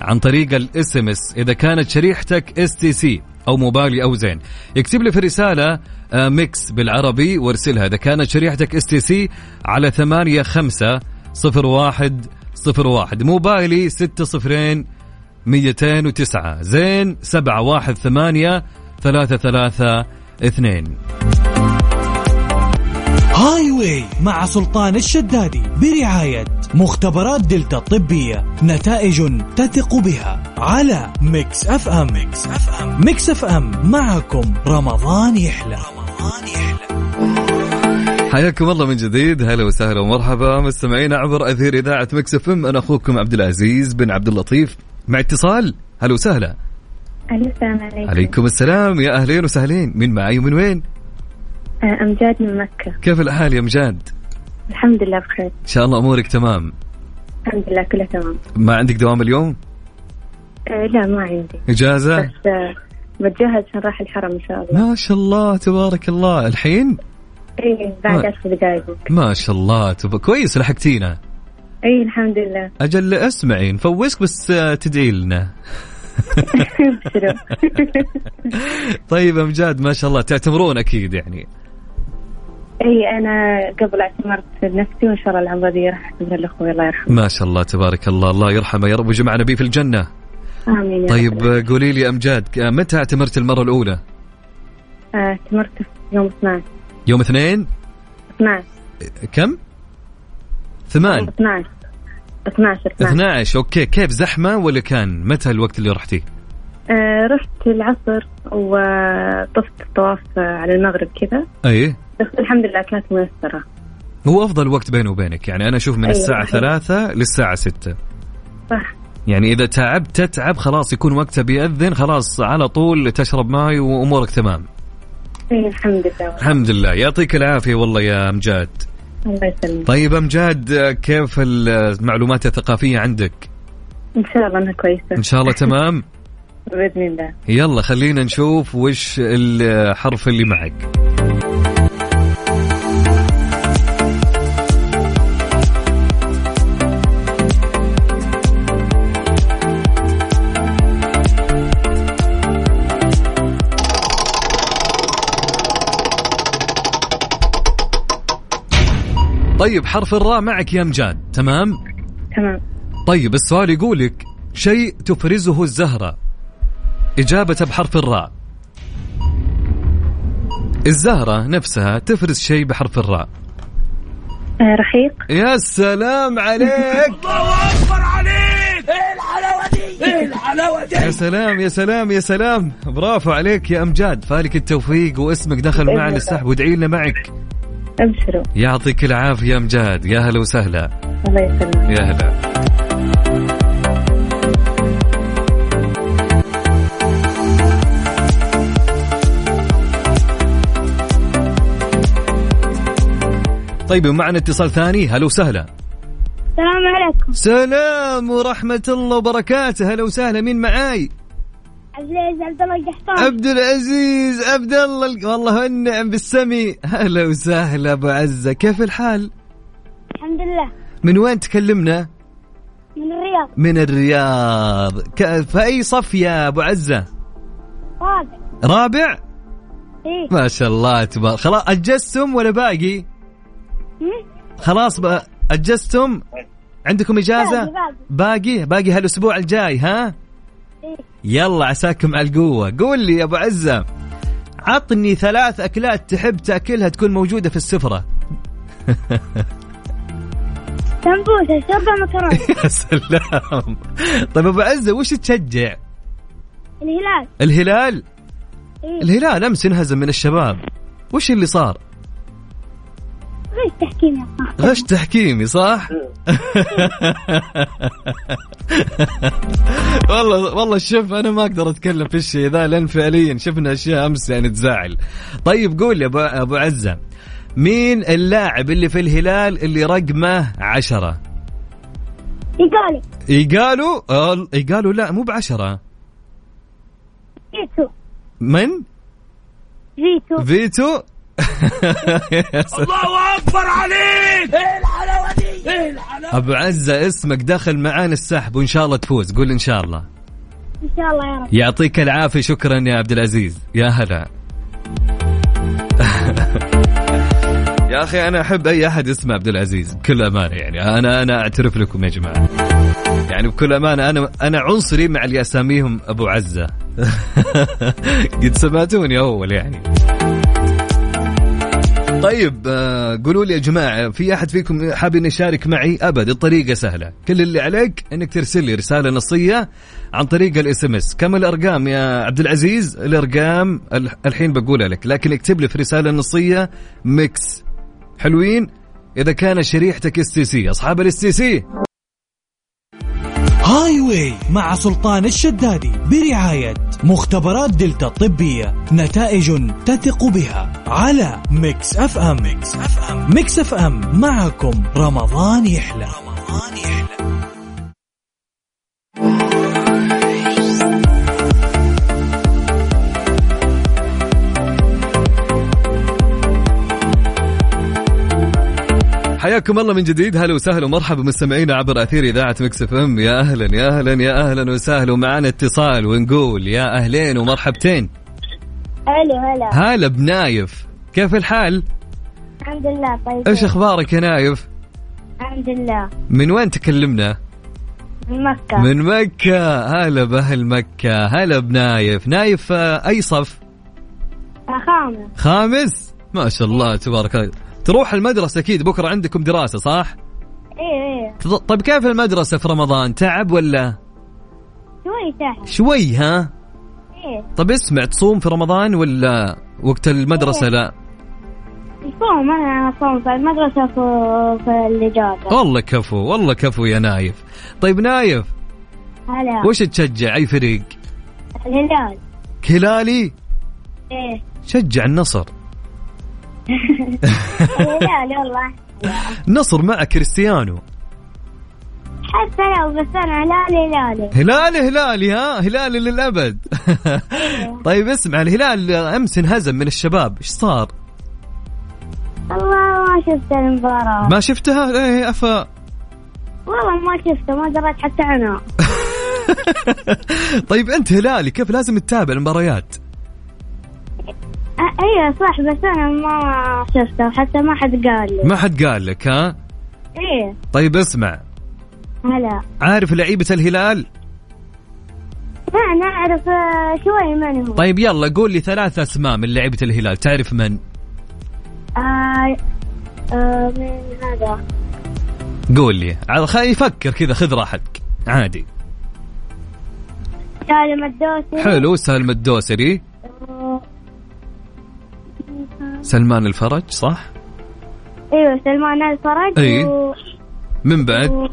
[SPEAKER 2] عن طريق الاس ام اس اذا كانت شريحتك اس تي سي او موبايلي او زين اكتب لي في الرساله آه، ميكس بالعربي وارسلها اذا كانت شريحتك اس تي سي على 85 01 صفر واحد موبايلي ستة صفرين ميتين وتسعة زين سبعة واحد ثمانية ثلاثة ثلاثة اثنين
[SPEAKER 3] هاي واي مع سلطان الشدادي برعاية مختبرات دلتا الطبية نتائج تثق بها على ميكس اف ام ميكس اف ام ميكس اف ام معكم رمضان يحلى رمضان يحلى
[SPEAKER 2] حياكم الله من جديد هلا وسهلا ومرحبا مستمعين عبر أثير إذاعة مكس اف ام أنا أخوكم عبد العزيز بن عبد اللطيف مع اتصال هلا وسهلا
[SPEAKER 7] ألو السلام عليكم
[SPEAKER 2] عليكم السلام يا أهلين وسهلين من معي ومن وين
[SPEAKER 7] آه، أمجاد من مكة
[SPEAKER 2] كيف الحال يا مجاد
[SPEAKER 7] الحمد لله بخير
[SPEAKER 2] إن شاء الله أمورك تمام
[SPEAKER 7] الحمد لله كله تمام
[SPEAKER 2] ما عندك دوام اليوم
[SPEAKER 7] آه، لا ما عندي
[SPEAKER 2] إجازة
[SPEAKER 7] بس آه، بتجهز عشان راح الحرم إن شاء الله
[SPEAKER 2] ما شاء الله تبارك الله الحين
[SPEAKER 7] إيه
[SPEAKER 2] ما-
[SPEAKER 7] بعد عشر دقايق
[SPEAKER 2] ما شاء الله تب... كويس لحقتينا
[SPEAKER 7] إيه الحمد لله
[SPEAKER 2] أجل اسمعي نفوزك بس آه، تدعي لنا
[SPEAKER 7] ابشروا
[SPEAKER 2] طيب أمجاد ما شاء الله تعتمرون أكيد يعني
[SPEAKER 7] إيه أنا قبل اعتمرت نفسي وإن شاء الله العمرة دي راح اعتمر لأخوي الله يرحمه
[SPEAKER 2] ما شاء الله تبارك الله الله يرحمه يا رب وجمعنا به في الجنة
[SPEAKER 7] آمين يا
[SPEAKER 2] طيب
[SPEAKER 7] رب.
[SPEAKER 2] آه، قولي لي أمجاد آه، متى اعتمرت المرة الأولى
[SPEAKER 7] آه، اعتمرت في يوم 12
[SPEAKER 2] يوم اثنين
[SPEAKER 7] 12
[SPEAKER 2] كم ثمان
[SPEAKER 7] 12 12 12
[SPEAKER 2] 12 أوكي كيف زحمة ولا كان متى الوقت اللي رحتيه
[SPEAKER 7] آه، رحت العصر وطفت الطواف آه، على المغرب كذا
[SPEAKER 2] أيه
[SPEAKER 7] بس الحمد لله كانت ميسرة
[SPEAKER 2] هو افضل وقت بيني وبينك يعني انا اشوف من
[SPEAKER 7] أيوة.
[SPEAKER 2] الساعه ثلاثة للساعه ستة
[SPEAKER 7] صح
[SPEAKER 2] يعني اذا تعبت تتعب خلاص يكون وقتها بيأذن خلاص على طول تشرب ماي وامورك تمام
[SPEAKER 7] إيه الحمد لله
[SPEAKER 2] الحمد لله يعطيك العافيه والله يا امجاد
[SPEAKER 7] الله يسلمك
[SPEAKER 2] طيب امجاد آه، كيف المعلومات الثقافيه عندك
[SPEAKER 7] ان شاء الله انها كويسه
[SPEAKER 2] ان شاء الله تمام
[SPEAKER 7] باذن الله
[SPEAKER 2] يلا خلينا نشوف وش الحرف اللي معك طيب حرف الراء معك يا مجاد تمام
[SPEAKER 7] تمام
[SPEAKER 2] طيب السؤال يقول لك شيء تفرزه الزهرة إجابة بحرف الراء الزهرة نفسها تفرز شيء بحرف الراء
[SPEAKER 7] آه رحيق
[SPEAKER 2] يا سلام عليك الله أكبر عليك إيه الحلاوة دي إيه الحلاوة دي يا سلام يا سلام يا سلام برافو عليك يا أمجاد فالك التوفيق واسمك دخل
[SPEAKER 7] بإذن
[SPEAKER 2] معنا
[SPEAKER 7] الله.
[SPEAKER 2] السحب وادعي لنا معك
[SPEAKER 7] ابشروا
[SPEAKER 2] يعطيك العافية يا أمجاد يا هلا وسهلا
[SPEAKER 7] الله يسلمك
[SPEAKER 2] يا هلا طيب معنا اتصال ثاني هلا وسهلا
[SPEAKER 7] السلام عليكم
[SPEAKER 2] سلام ورحمة الله وبركاته هلا وسهلا مين معاي
[SPEAKER 7] عبد العزيز عبد الله القحطاني
[SPEAKER 2] عبد العزيز عبد الله الق- والله النعم بالسمي هلا وسهلا أبو عزة كيف الحال
[SPEAKER 7] الحمد لله
[SPEAKER 2] من وين تكلمنا
[SPEAKER 7] من الرياض
[SPEAKER 2] من الرياض ك- في أي صف يا أبو عزة
[SPEAKER 7] رابع
[SPEAKER 2] رابع
[SPEAKER 8] إيه.
[SPEAKER 7] ايه
[SPEAKER 2] ما شاء الله تبارك خلاص اجزتم ولا باقي؟ خلاص بقى اجزتم؟ عندكم اجازه؟
[SPEAKER 7] باقي-
[SPEAKER 2] باقي باقي هالاسبوع الجاي ها؟
[SPEAKER 7] إيه.
[SPEAKER 2] يلا عساكم على القوه، قول لي يا ابو عزه عطني ثلاث اكلات تحب تاكلها تكون موجوده في السفره.
[SPEAKER 7] سمبوسه شربة مكرونه
[SPEAKER 2] يا سلام. طيب ابو عزه وش تشجع؟
[SPEAKER 7] الهلال
[SPEAKER 2] الهلال؟
[SPEAKER 7] إيه.
[SPEAKER 2] الهلال امس انهزم من الشباب. وش اللي صار؟
[SPEAKER 7] غير تحكيم يا صاحبي
[SPEAKER 2] غش تحكيمي صح؟ والله والله شوف انا ما اقدر اتكلم في الشيء ذا لان فعليا شفنا اشياء امس يعني تزعل. طيب قول لي ابو ابو عزه مين اللاعب اللي في الهلال اللي رقمه عشرة؟
[SPEAKER 7] يقالي
[SPEAKER 2] يقالوا آه، يقالوا لا مو بعشرة
[SPEAKER 7] جيتو
[SPEAKER 2] من؟
[SPEAKER 7] جيتو
[SPEAKER 2] فيتو الله اكبر عليك ايه الحلاوه إيه دي ايه الحلاوه ابو عزه اسمك دخل معانا السحب وان شاء الله تفوز قول ان شاء الله
[SPEAKER 7] ان شاء الله يا رب
[SPEAKER 2] يعطيك العافيه شكرا يا عبد العزيز يا هلا يا اخي انا احب اي احد اسمه عبد العزيز بكل امانه يعني انا انا اعترف لكم يا جماعه يعني بكل امانه انا انا عنصري مع اللي اساميهم ابو عزه قد سمعتوني اول يعني طيب آه، قولوا لي يا جماعة في أحد فيكم حاب إنه يشارك معي أبد الطريقة سهلة كل اللي عليك إنك ترسل لي رسالة نصية عن طريق الاس ام اس كم الأرقام يا عبد العزيز الأرقام ال- الحين بقولها لك لكن اكتب لي في رسالة نصية ميكس حلوين إذا كان شريحتك اس تي سي أصحاب الاس تي سي
[SPEAKER 3] هاي واي مع سلطان الشدادي برعاية مختبرات دلتا الطبية نتائج تثق بها على ميكس اف ام ميكس اف ام ميكس اف ام معكم رمضان يحلى رمضان يحلى
[SPEAKER 2] حياكم الله من جديد هلا وسهلا ومرحبا مستمعينا عبر اثير اذاعه مكس اف ام يا اهلا يا اهلا يا اهلا وسهلا ومعنا اتصال ونقول يا اهلين ومرحبتين
[SPEAKER 8] الو هلا
[SPEAKER 2] هلا بنايف كيف الحال؟
[SPEAKER 8] الحمد لله طيب
[SPEAKER 2] ايش اخبارك يا نايف؟
[SPEAKER 8] الحمد لله
[SPEAKER 2] من وين تكلمنا؟
[SPEAKER 8] من مكة
[SPEAKER 2] من مكة هلا بأهل مكة هلا بنايف نايف آه، أي صف؟
[SPEAKER 8] خامس
[SPEAKER 2] خامس؟ ما شاء الله تبارك الله تروح المدرسة أكيد بكرة عندكم دراسة صح؟
[SPEAKER 8] ايه ايه
[SPEAKER 2] تط- طيب كيف المدرسة في رمضان تعب ولا
[SPEAKER 8] شوي سهل
[SPEAKER 2] شوي ها؟
[SPEAKER 8] ايه
[SPEAKER 2] طب اسمع تصوم في رمضان ولا وقت المدرسة لا؟
[SPEAKER 8] الصوم انا اصوم في المدرسة في, في الاجازة
[SPEAKER 2] والله كفو والله كفو يا نايف طيب نايف
[SPEAKER 8] هلا
[SPEAKER 2] وش تشجع أي فريق؟
[SPEAKER 8] الهلال
[SPEAKER 2] هلالي
[SPEAKER 8] ايه
[SPEAKER 2] شجع النصر
[SPEAKER 8] الهلال والله
[SPEAKER 2] نصر مع كريستيانو
[SPEAKER 8] حتى لو بس انا هلالي هلالي
[SPEAKER 2] هلال هلالي ها هلال للأبد طيب اسمع الهلال أمس انهزم من الشباب إيش صار
[SPEAKER 8] والله ما شفت المباراة
[SPEAKER 2] ما شفتها إيه، أفا
[SPEAKER 8] والله ما شفته ما دريت حتى انا
[SPEAKER 2] طيب أنت هلالي كيف لازم تتابع المباريات
[SPEAKER 8] أ- ايوه صح بس انا ما شفته حتى ما حد قال لي
[SPEAKER 2] ما حد قال لك ها
[SPEAKER 8] ايه
[SPEAKER 2] طيب اسمع
[SPEAKER 8] هلا
[SPEAKER 2] عارف لعيبة الهلال
[SPEAKER 8] لا انا اعرف آه، شوي من هو
[SPEAKER 2] طيب يلا قول لي ثلاث أسماء من لعيبة الهلال تعرف من
[SPEAKER 8] آه آه من هذا
[SPEAKER 2] قول لي على خلي يفكر كذا خذ راحتك عادي
[SPEAKER 8] سالم الدوسي
[SPEAKER 2] حلو سالم الدوسري
[SPEAKER 8] آه،
[SPEAKER 2] سلمان الفرج صح
[SPEAKER 8] ايوه سلمان الفرج
[SPEAKER 2] إي.
[SPEAKER 8] و...
[SPEAKER 2] من بعد
[SPEAKER 8] و...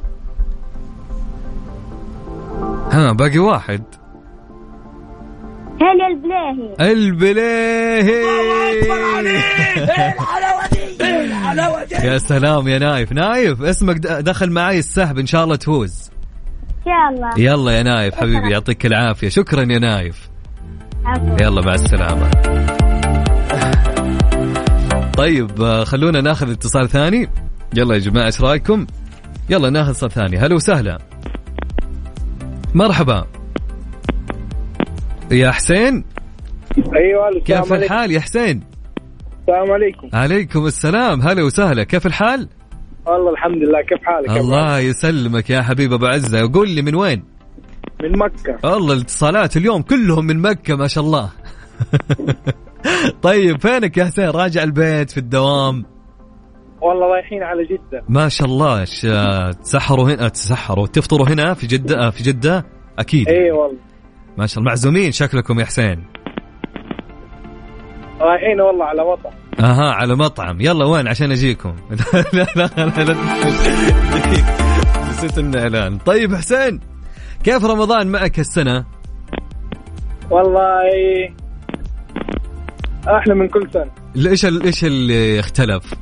[SPEAKER 2] ها باقي واحد
[SPEAKER 8] هلا البلاهي
[SPEAKER 2] البليهي يا سلام يا نايف نايف اسمك د- دخل معي السحب ان شاء الله تفوز
[SPEAKER 8] ان شاء الله
[SPEAKER 2] يلا يا نايف حبيبي يعطيك العافيه شكرا يا نايف
[SPEAKER 8] عفوا.
[SPEAKER 2] يلا مع السلامه طيب آه، خلونا ناخذ اتصال ثاني يلا يا جماعه ايش رايكم يلا ناخذ اتصال ثاني هلا وسهلا مرحبا يا حسين
[SPEAKER 4] ايوه ألو،
[SPEAKER 2] كيف
[SPEAKER 4] السلام عليكم
[SPEAKER 2] الحال يا حسين
[SPEAKER 4] السلام عليكم
[SPEAKER 2] عليكم السلام هلا وسهلا كيف الحال
[SPEAKER 4] والله الحمد لله كيف حالك يا أبو
[SPEAKER 2] الله يسلمك يا حبيب ابو عزه وقول لي من وين
[SPEAKER 4] عبد؟ من مكه
[SPEAKER 2] والله الاتصالات اليوم كلهم من مكه ما شاء الله طيب فينك يا حسين راجع البيت في الدوام
[SPEAKER 4] والله رايحين على جده
[SPEAKER 2] ما شاء الله ش... تسحروا هنا آه، تسحروا تفطروا هنا في جده في جده اكيد
[SPEAKER 4] اي إيه والله
[SPEAKER 2] ما شاء الله معزومين شكلكم يا حسين
[SPEAKER 4] رايحين والله على وطن
[SPEAKER 2] اها على مطعم يلا وين عشان اجيكم لا لا لا لا, لا. نسيت انه اعلان طيب حسين كيف رمضان معك هالسنه
[SPEAKER 4] والله إيه، احلى من كل سنه
[SPEAKER 2] ايش ال- ايش اللي اختلف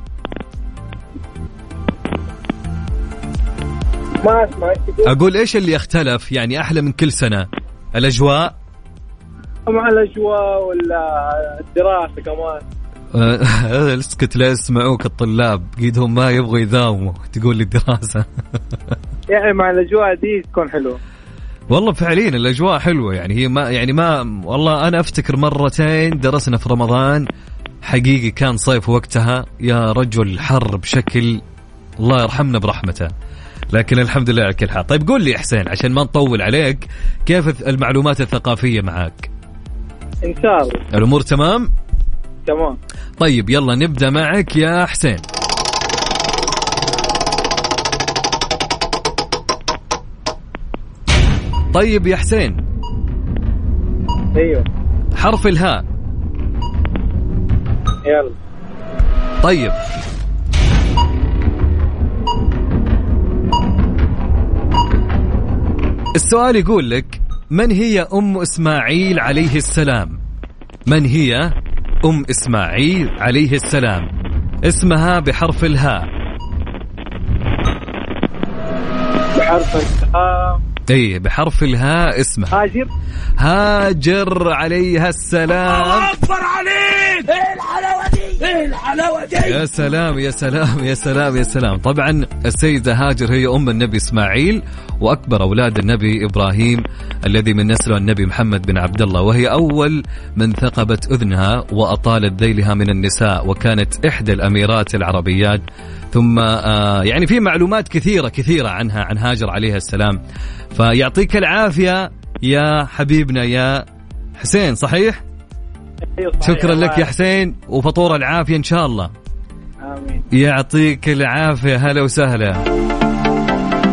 [SPEAKER 4] ما اسمع إيش تقول.
[SPEAKER 2] اقول ايش اللي اختلف يعني احلى من كل سنه الاجواء
[SPEAKER 4] مع الاجواء ولا الدراسه كمان
[SPEAKER 2] آه، اسكت لا يسمعوك الطلاب قيدهم ما يبغوا يداوموا تقول لي الدراسه
[SPEAKER 4] يعني مع الاجواء دي تكون حلوه
[SPEAKER 2] والله فعليا الاجواء حلوه يعني هي ما يعني ما والله انا افتكر مرتين درسنا في رمضان حقيقي كان صيف وقتها يا رجل حر بشكل الله يرحمنا برحمته لكن الحمد لله على كل حال طيب قول لي يا حسين عشان ما نطول عليك كيف المعلومات الثقافية معاك
[SPEAKER 6] ان شاء الله
[SPEAKER 2] الأمور تمام
[SPEAKER 6] تمام
[SPEAKER 2] طيب يلا نبدأ معك يا حسين طيب يا حسين
[SPEAKER 4] أيوه.
[SPEAKER 6] ايوه
[SPEAKER 2] حرف الهاء
[SPEAKER 6] يلا
[SPEAKER 2] طيب السؤال يقول لك من هي ام اسماعيل عليه السلام من هي ام اسماعيل عليه السلام اسمها بحرف الهاء
[SPEAKER 6] بحرف الهاء
[SPEAKER 2] اي إيه، بحرف الهاء اسمها
[SPEAKER 6] هاجر
[SPEAKER 2] هاجر عليها السلام يا سلام يا سلام يا سلام يا سلام طبعا السيدة هاجر هي أم النبي إسماعيل وأكبر أولاد النبي إبراهيم الذي من نسله النبي محمد بن عبد الله وهي أول من ثقبت أذنها وأطالت ذيلها من النساء وكانت إحدى الأميرات العربيات ثم آه، يعني في معلومات كثيرة كثيرة عنها عن هاجر عليها السلام فيعطيك العافية يا حبيبنا يا حسين صحيح؟
[SPEAKER 4] أيوه،
[SPEAKER 6] أيوة صحيح.
[SPEAKER 2] شكرا لك يا حسين وفطور العافية إن شاء الله
[SPEAKER 6] امين
[SPEAKER 2] يعطيك العافية هلا وسهلا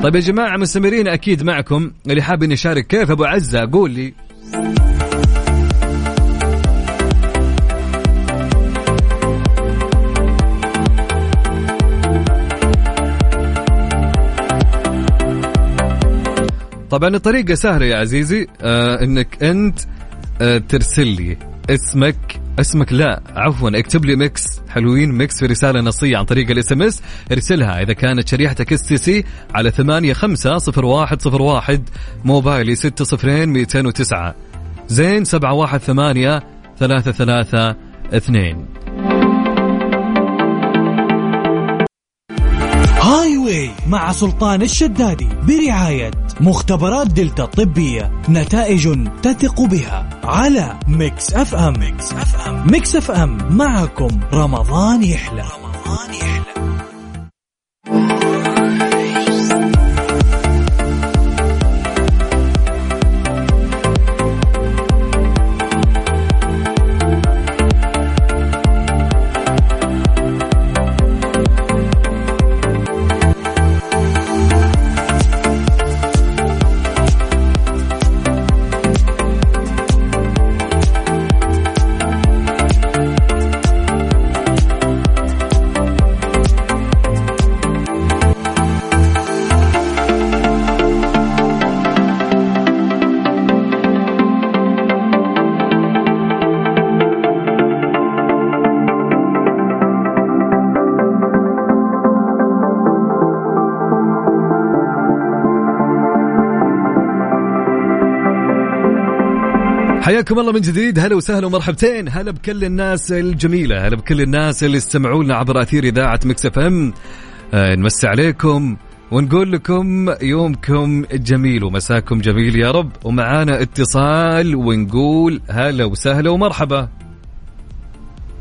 [SPEAKER 2] طيب يا جماعة مستمرين أكيد معكم اللي حاب إني يشارك كيف أبو عزة قول لي طبعا الطريقة سهلة يا عزيزي آه انك انت آه ترسل لي اسمك اسمك لا عفوا اكتب لي ميكس حلوين ميكس في رسالة نصية عن طريق الاس ام اس ارسلها اذا كانت شريحتك اس تي سي على 8 5 0 1 0 1 موبايلي 6 0 209 زين 7 1 8 3 3 2
[SPEAKER 3] هاي واي مع سلطان الشدادي برعاية مختبرات دلتا الطبية نتائج تثق بها على ميكس اف ام ميكس اف ام ميكس اف ام معكم رمضان يحلى رمضان يحلى
[SPEAKER 2] حياكم الله من جديد هلا وسهلا ومرحبتين هلا بكل الناس الجميلة هلا بكل الناس اللي استمعوا لنا عبر أثير إذاعة مكسف أم آه، نمسي عليكم ونقول لكم يومكم جميل ومساكم جميل يا رب ومعانا اتصال ونقول هلا وسهلا ومرحبا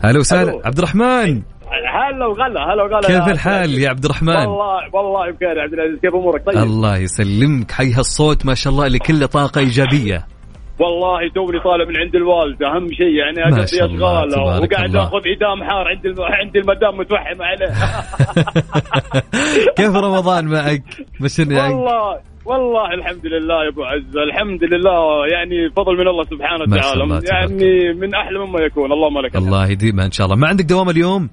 [SPEAKER 2] هلا وسهلا
[SPEAKER 4] ألو.
[SPEAKER 2] عبد الرحمن
[SPEAKER 4] هلا وغلا هلا وغلا
[SPEAKER 2] كيف الحال يا عبد الرحمن
[SPEAKER 4] والله والله بخير يا عبد العزيز كيف امورك طيب
[SPEAKER 2] الله يسلمك حي هالصوت ما شاء الله اللي كله طاقة إيجابية
[SPEAKER 4] والله توني طالع من عند الوالده اهم شيء يعني
[SPEAKER 2] ما
[SPEAKER 4] اقضي
[SPEAKER 2] شاء الله،
[SPEAKER 4] اشغاله
[SPEAKER 2] تبارك
[SPEAKER 4] وقاعد
[SPEAKER 2] الله.
[SPEAKER 4] اخذ ادام حار عند الم... عند المدام متوحم عليه
[SPEAKER 2] كيف رمضان معك بشرني عنك
[SPEAKER 4] والله والله الحمد لله يا ابو عزه الحمد لله يعني فضل من الله سبحانه
[SPEAKER 2] ما شاء
[SPEAKER 4] وتعالى
[SPEAKER 2] الله، تبارك
[SPEAKER 4] يعني من احلى مما يكون اللهم لك الحمد.
[SPEAKER 2] الله يديمها ان شاء الله ما عندك دوام اليوم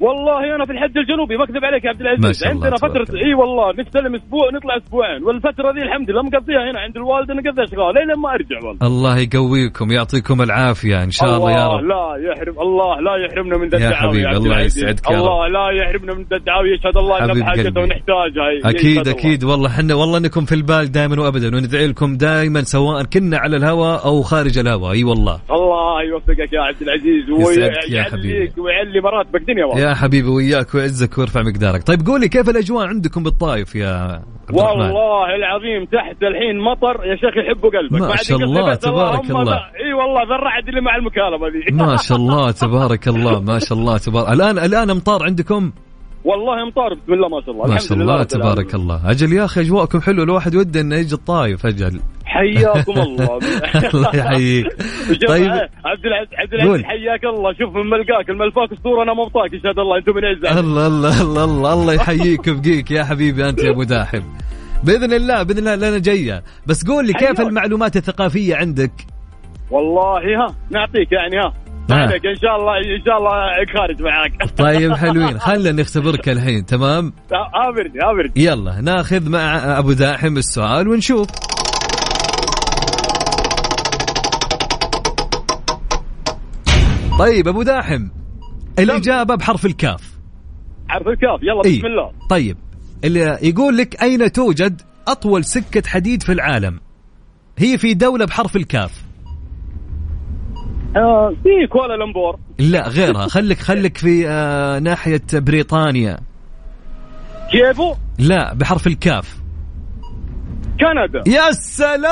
[SPEAKER 4] والله انا في الحد الجنوبي ما اكذب عليك يا عبد
[SPEAKER 2] ما
[SPEAKER 4] العزيز
[SPEAKER 2] شاء الله،
[SPEAKER 4] عندنا
[SPEAKER 2] تبارك
[SPEAKER 4] فتره
[SPEAKER 2] الله.
[SPEAKER 4] اي والله نستلم اسبوع نطلع اسبوعين والفتره ذي الحمد لله مقضيها هنا عند الوالده نقضي اشغال لين ما ارجع والله
[SPEAKER 2] الله يقويكم يعطيكم العافيه ان شاء الله يا رب
[SPEAKER 4] لا يحرم الله لا يحرمنا من ذا
[SPEAKER 2] يا
[SPEAKER 4] الدعاوي
[SPEAKER 2] حبيبي،
[SPEAKER 4] عبد
[SPEAKER 2] الله
[SPEAKER 4] العزيز.
[SPEAKER 2] يسعدك يا
[SPEAKER 4] الله لا يحرمنا من ذا الدعاوي يشهد الله ان
[SPEAKER 2] حبيب
[SPEAKER 4] بحاجته
[SPEAKER 2] قلبي.
[SPEAKER 4] ونحتاجها يشهد
[SPEAKER 2] اكيد
[SPEAKER 4] الله.
[SPEAKER 2] اكيد والله احنا والله انكم في البال دائما وابدا وندعي لكم دائما سواء كنا على الهواء او خارج الهواء اي والله
[SPEAKER 4] الله يوفقك يا عبد العزيز
[SPEAKER 2] يسعدك يا
[SPEAKER 4] ويعليك
[SPEAKER 2] حبيبي.
[SPEAKER 4] ويعلي مراتبك دنيا والله
[SPEAKER 2] يا حبيبي وياك وعزك وارفع مقدارك طيب قولي كيف الاجواء عندكم بالطايف يا عبد الرحمن
[SPEAKER 4] والله العظيم تحت الحين مطر يا شيخ يحبه قلبك
[SPEAKER 2] ما
[SPEAKER 4] بعد
[SPEAKER 2] شاء الله،
[SPEAKER 4] قصدي بس
[SPEAKER 2] تبارك
[SPEAKER 4] اللهم
[SPEAKER 2] الله.
[SPEAKER 4] لا- اي والله ذا الرعد اللي مع المكالمه ذي
[SPEAKER 2] ما شاء الله تبارك الله ما شاء الله تبارك الان الان امطار عندكم
[SPEAKER 4] والله مطار بسم الله ما شاء الله
[SPEAKER 2] ما
[SPEAKER 4] الحمد
[SPEAKER 2] شاء
[SPEAKER 4] لله
[SPEAKER 2] الله
[SPEAKER 4] رب
[SPEAKER 2] تبارك
[SPEAKER 4] العالمين.
[SPEAKER 2] الله اجل يا اخي اجواءكم حلو الواحد وده انه يجي الطايف اجل
[SPEAKER 4] حياكم الله
[SPEAKER 2] الله يحييك طيب
[SPEAKER 4] عبد العزيز عبد
[SPEAKER 2] قول.
[SPEAKER 4] العزيز حياك الله شوف من ملقاك الملفاك الصوره انا مبطاك يشهد الله انتم من عزة
[SPEAKER 2] الله الله الله الله, الله يحييك ويبقيك يا حبيبي انت يا ابو داحم باذن الله باذن الله لنا جايه بس قول لي كيف
[SPEAKER 4] حياك.
[SPEAKER 2] المعلومات الثقافيه عندك؟
[SPEAKER 4] والله ها نعطيك يعني ها
[SPEAKER 2] أه.
[SPEAKER 4] عليك ان شاء الله ان شاء الله خارج معاك
[SPEAKER 2] طيب حلوين خلينا نختبرك الحين تمام؟
[SPEAKER 4] ابرد ابرد
[SPEAKER 2] يلا ناخذ مع ابو داحم السؤال ونشوف طيب ابو داحم الاجابه بحرف الكاف
[SPEAKER 4] حرف الكاف يلا
[SPEAKER 2] إيه.
[SPEAKER 4] بسم الله
[SPEAKER 2] طيب اللي يقول لك اين توجد اطول سكه حديد في العالم هي في دوله بحرف الكاف
[SPEAKER 4] آه، في كوالالمبور
[SPEAKER 2] لا غيرها خلك خلك في آه ناحيه بريطانيا
[SPEAKER 4] كيفو
[SPEAKER 2] لا بحرف الكاف
[SPEAKER 4] كندا
[SPEAKER 2] يا سلام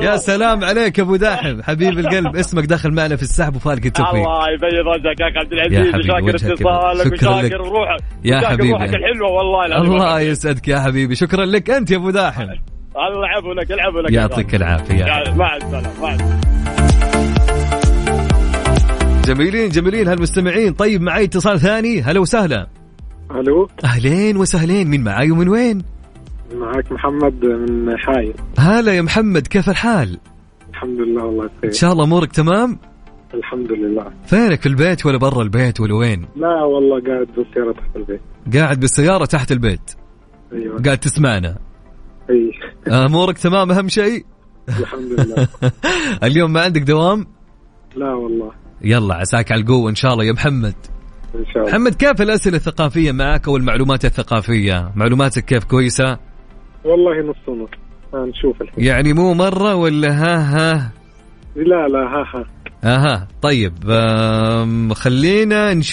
[SPEAKER 2] يا سلام عليك ابو داحم حبيب القلب اسمك داخل معنا في السحب وفالك التوفيق
[SPEAKER 4] الله يبيض وجهك يا اخي عبد
[SPEAKER 2] يا
[SPEAKER 4] العزيز
[SPEAKER 2] حبيبي،
[SPEAKER 4] وشاكر
[SPEAKER 2] وجهك
[SPEAKER 4] اتصالك
[SPEAKER 2] يبيض. شكراً لك.
[SPEAKER 4] وشاكر روحك
[SPEAKER 2] يا
[SPEAKER 4] وشاكر
[SPEAKER 2] حبيبي.
[SPEAKER 4] روحك الحلوه والله العظيم
[SPEAKER 2] الله يسعدك يا حبيبي شكرا لك انت يا ابو داحم
[SPEAKER 4] الله يلعبوا لك يلعبوا لك
[SPEAKER 2] يعطيك العافيه
[SPEAKER 4] العافيه مع السلامه مع السلامه
[SPEAKER 2] جميلين جميلين هالمستمعين طيب معي اتصال ثاني هلا وسهلا
[SPEAKER 9] الو
[SPEAKER 2] اهلين وسهلين من معاي ومن وين
[SPEAKER 9] معك محمد من حايل
[SPEAKER 2] هلا يا محمد كيف الحال
[SPEAKER 9] الحمد لله والله
[SPEAKER 2] ان
[SPEAKER 9] بخير
[SPEAKER 2] شاء الله امورك تمام
[SPEAKER 9] الحمد لله
[SPEAKER 2] فينك في البيت ولا برا البيت ولا وين
[SPEAKER 9] لا والله قاعد بالسيارة تحت البيت
[SPEAKER 2] قاعد بالسياره تحت البيت
[SPEAKER 9] ايوه
[SPEAKER 2] قاعد تسمعنا
[SPEAKER 9] اي
[SPEAKER 2] امورك تمام اهم شيء
[SPEAKER 9] الحمد لله
[SPEAKER 2] اليوم ما عندك دوام
[SPEAKER 9] لا والله
[SPEAKER 2] يلا عساك على القوه ان شاء الله يا محمد
[SPEAKER 9] ان شاء الله
[SPEAKER 2] محمد كيف الاسئله الثقافيه معك او المعلومات الثقافيه معلوماتك كيف كويسه
[SPEAKER 9] والله نص آه، ونص هنشوف الحين
[SPEAKER 2] يعني مو مره ولا ها ها
[SPEAKER 9] لا لا ها ها
[SPEAKER 2] اها طيب آم، خلينا نشوف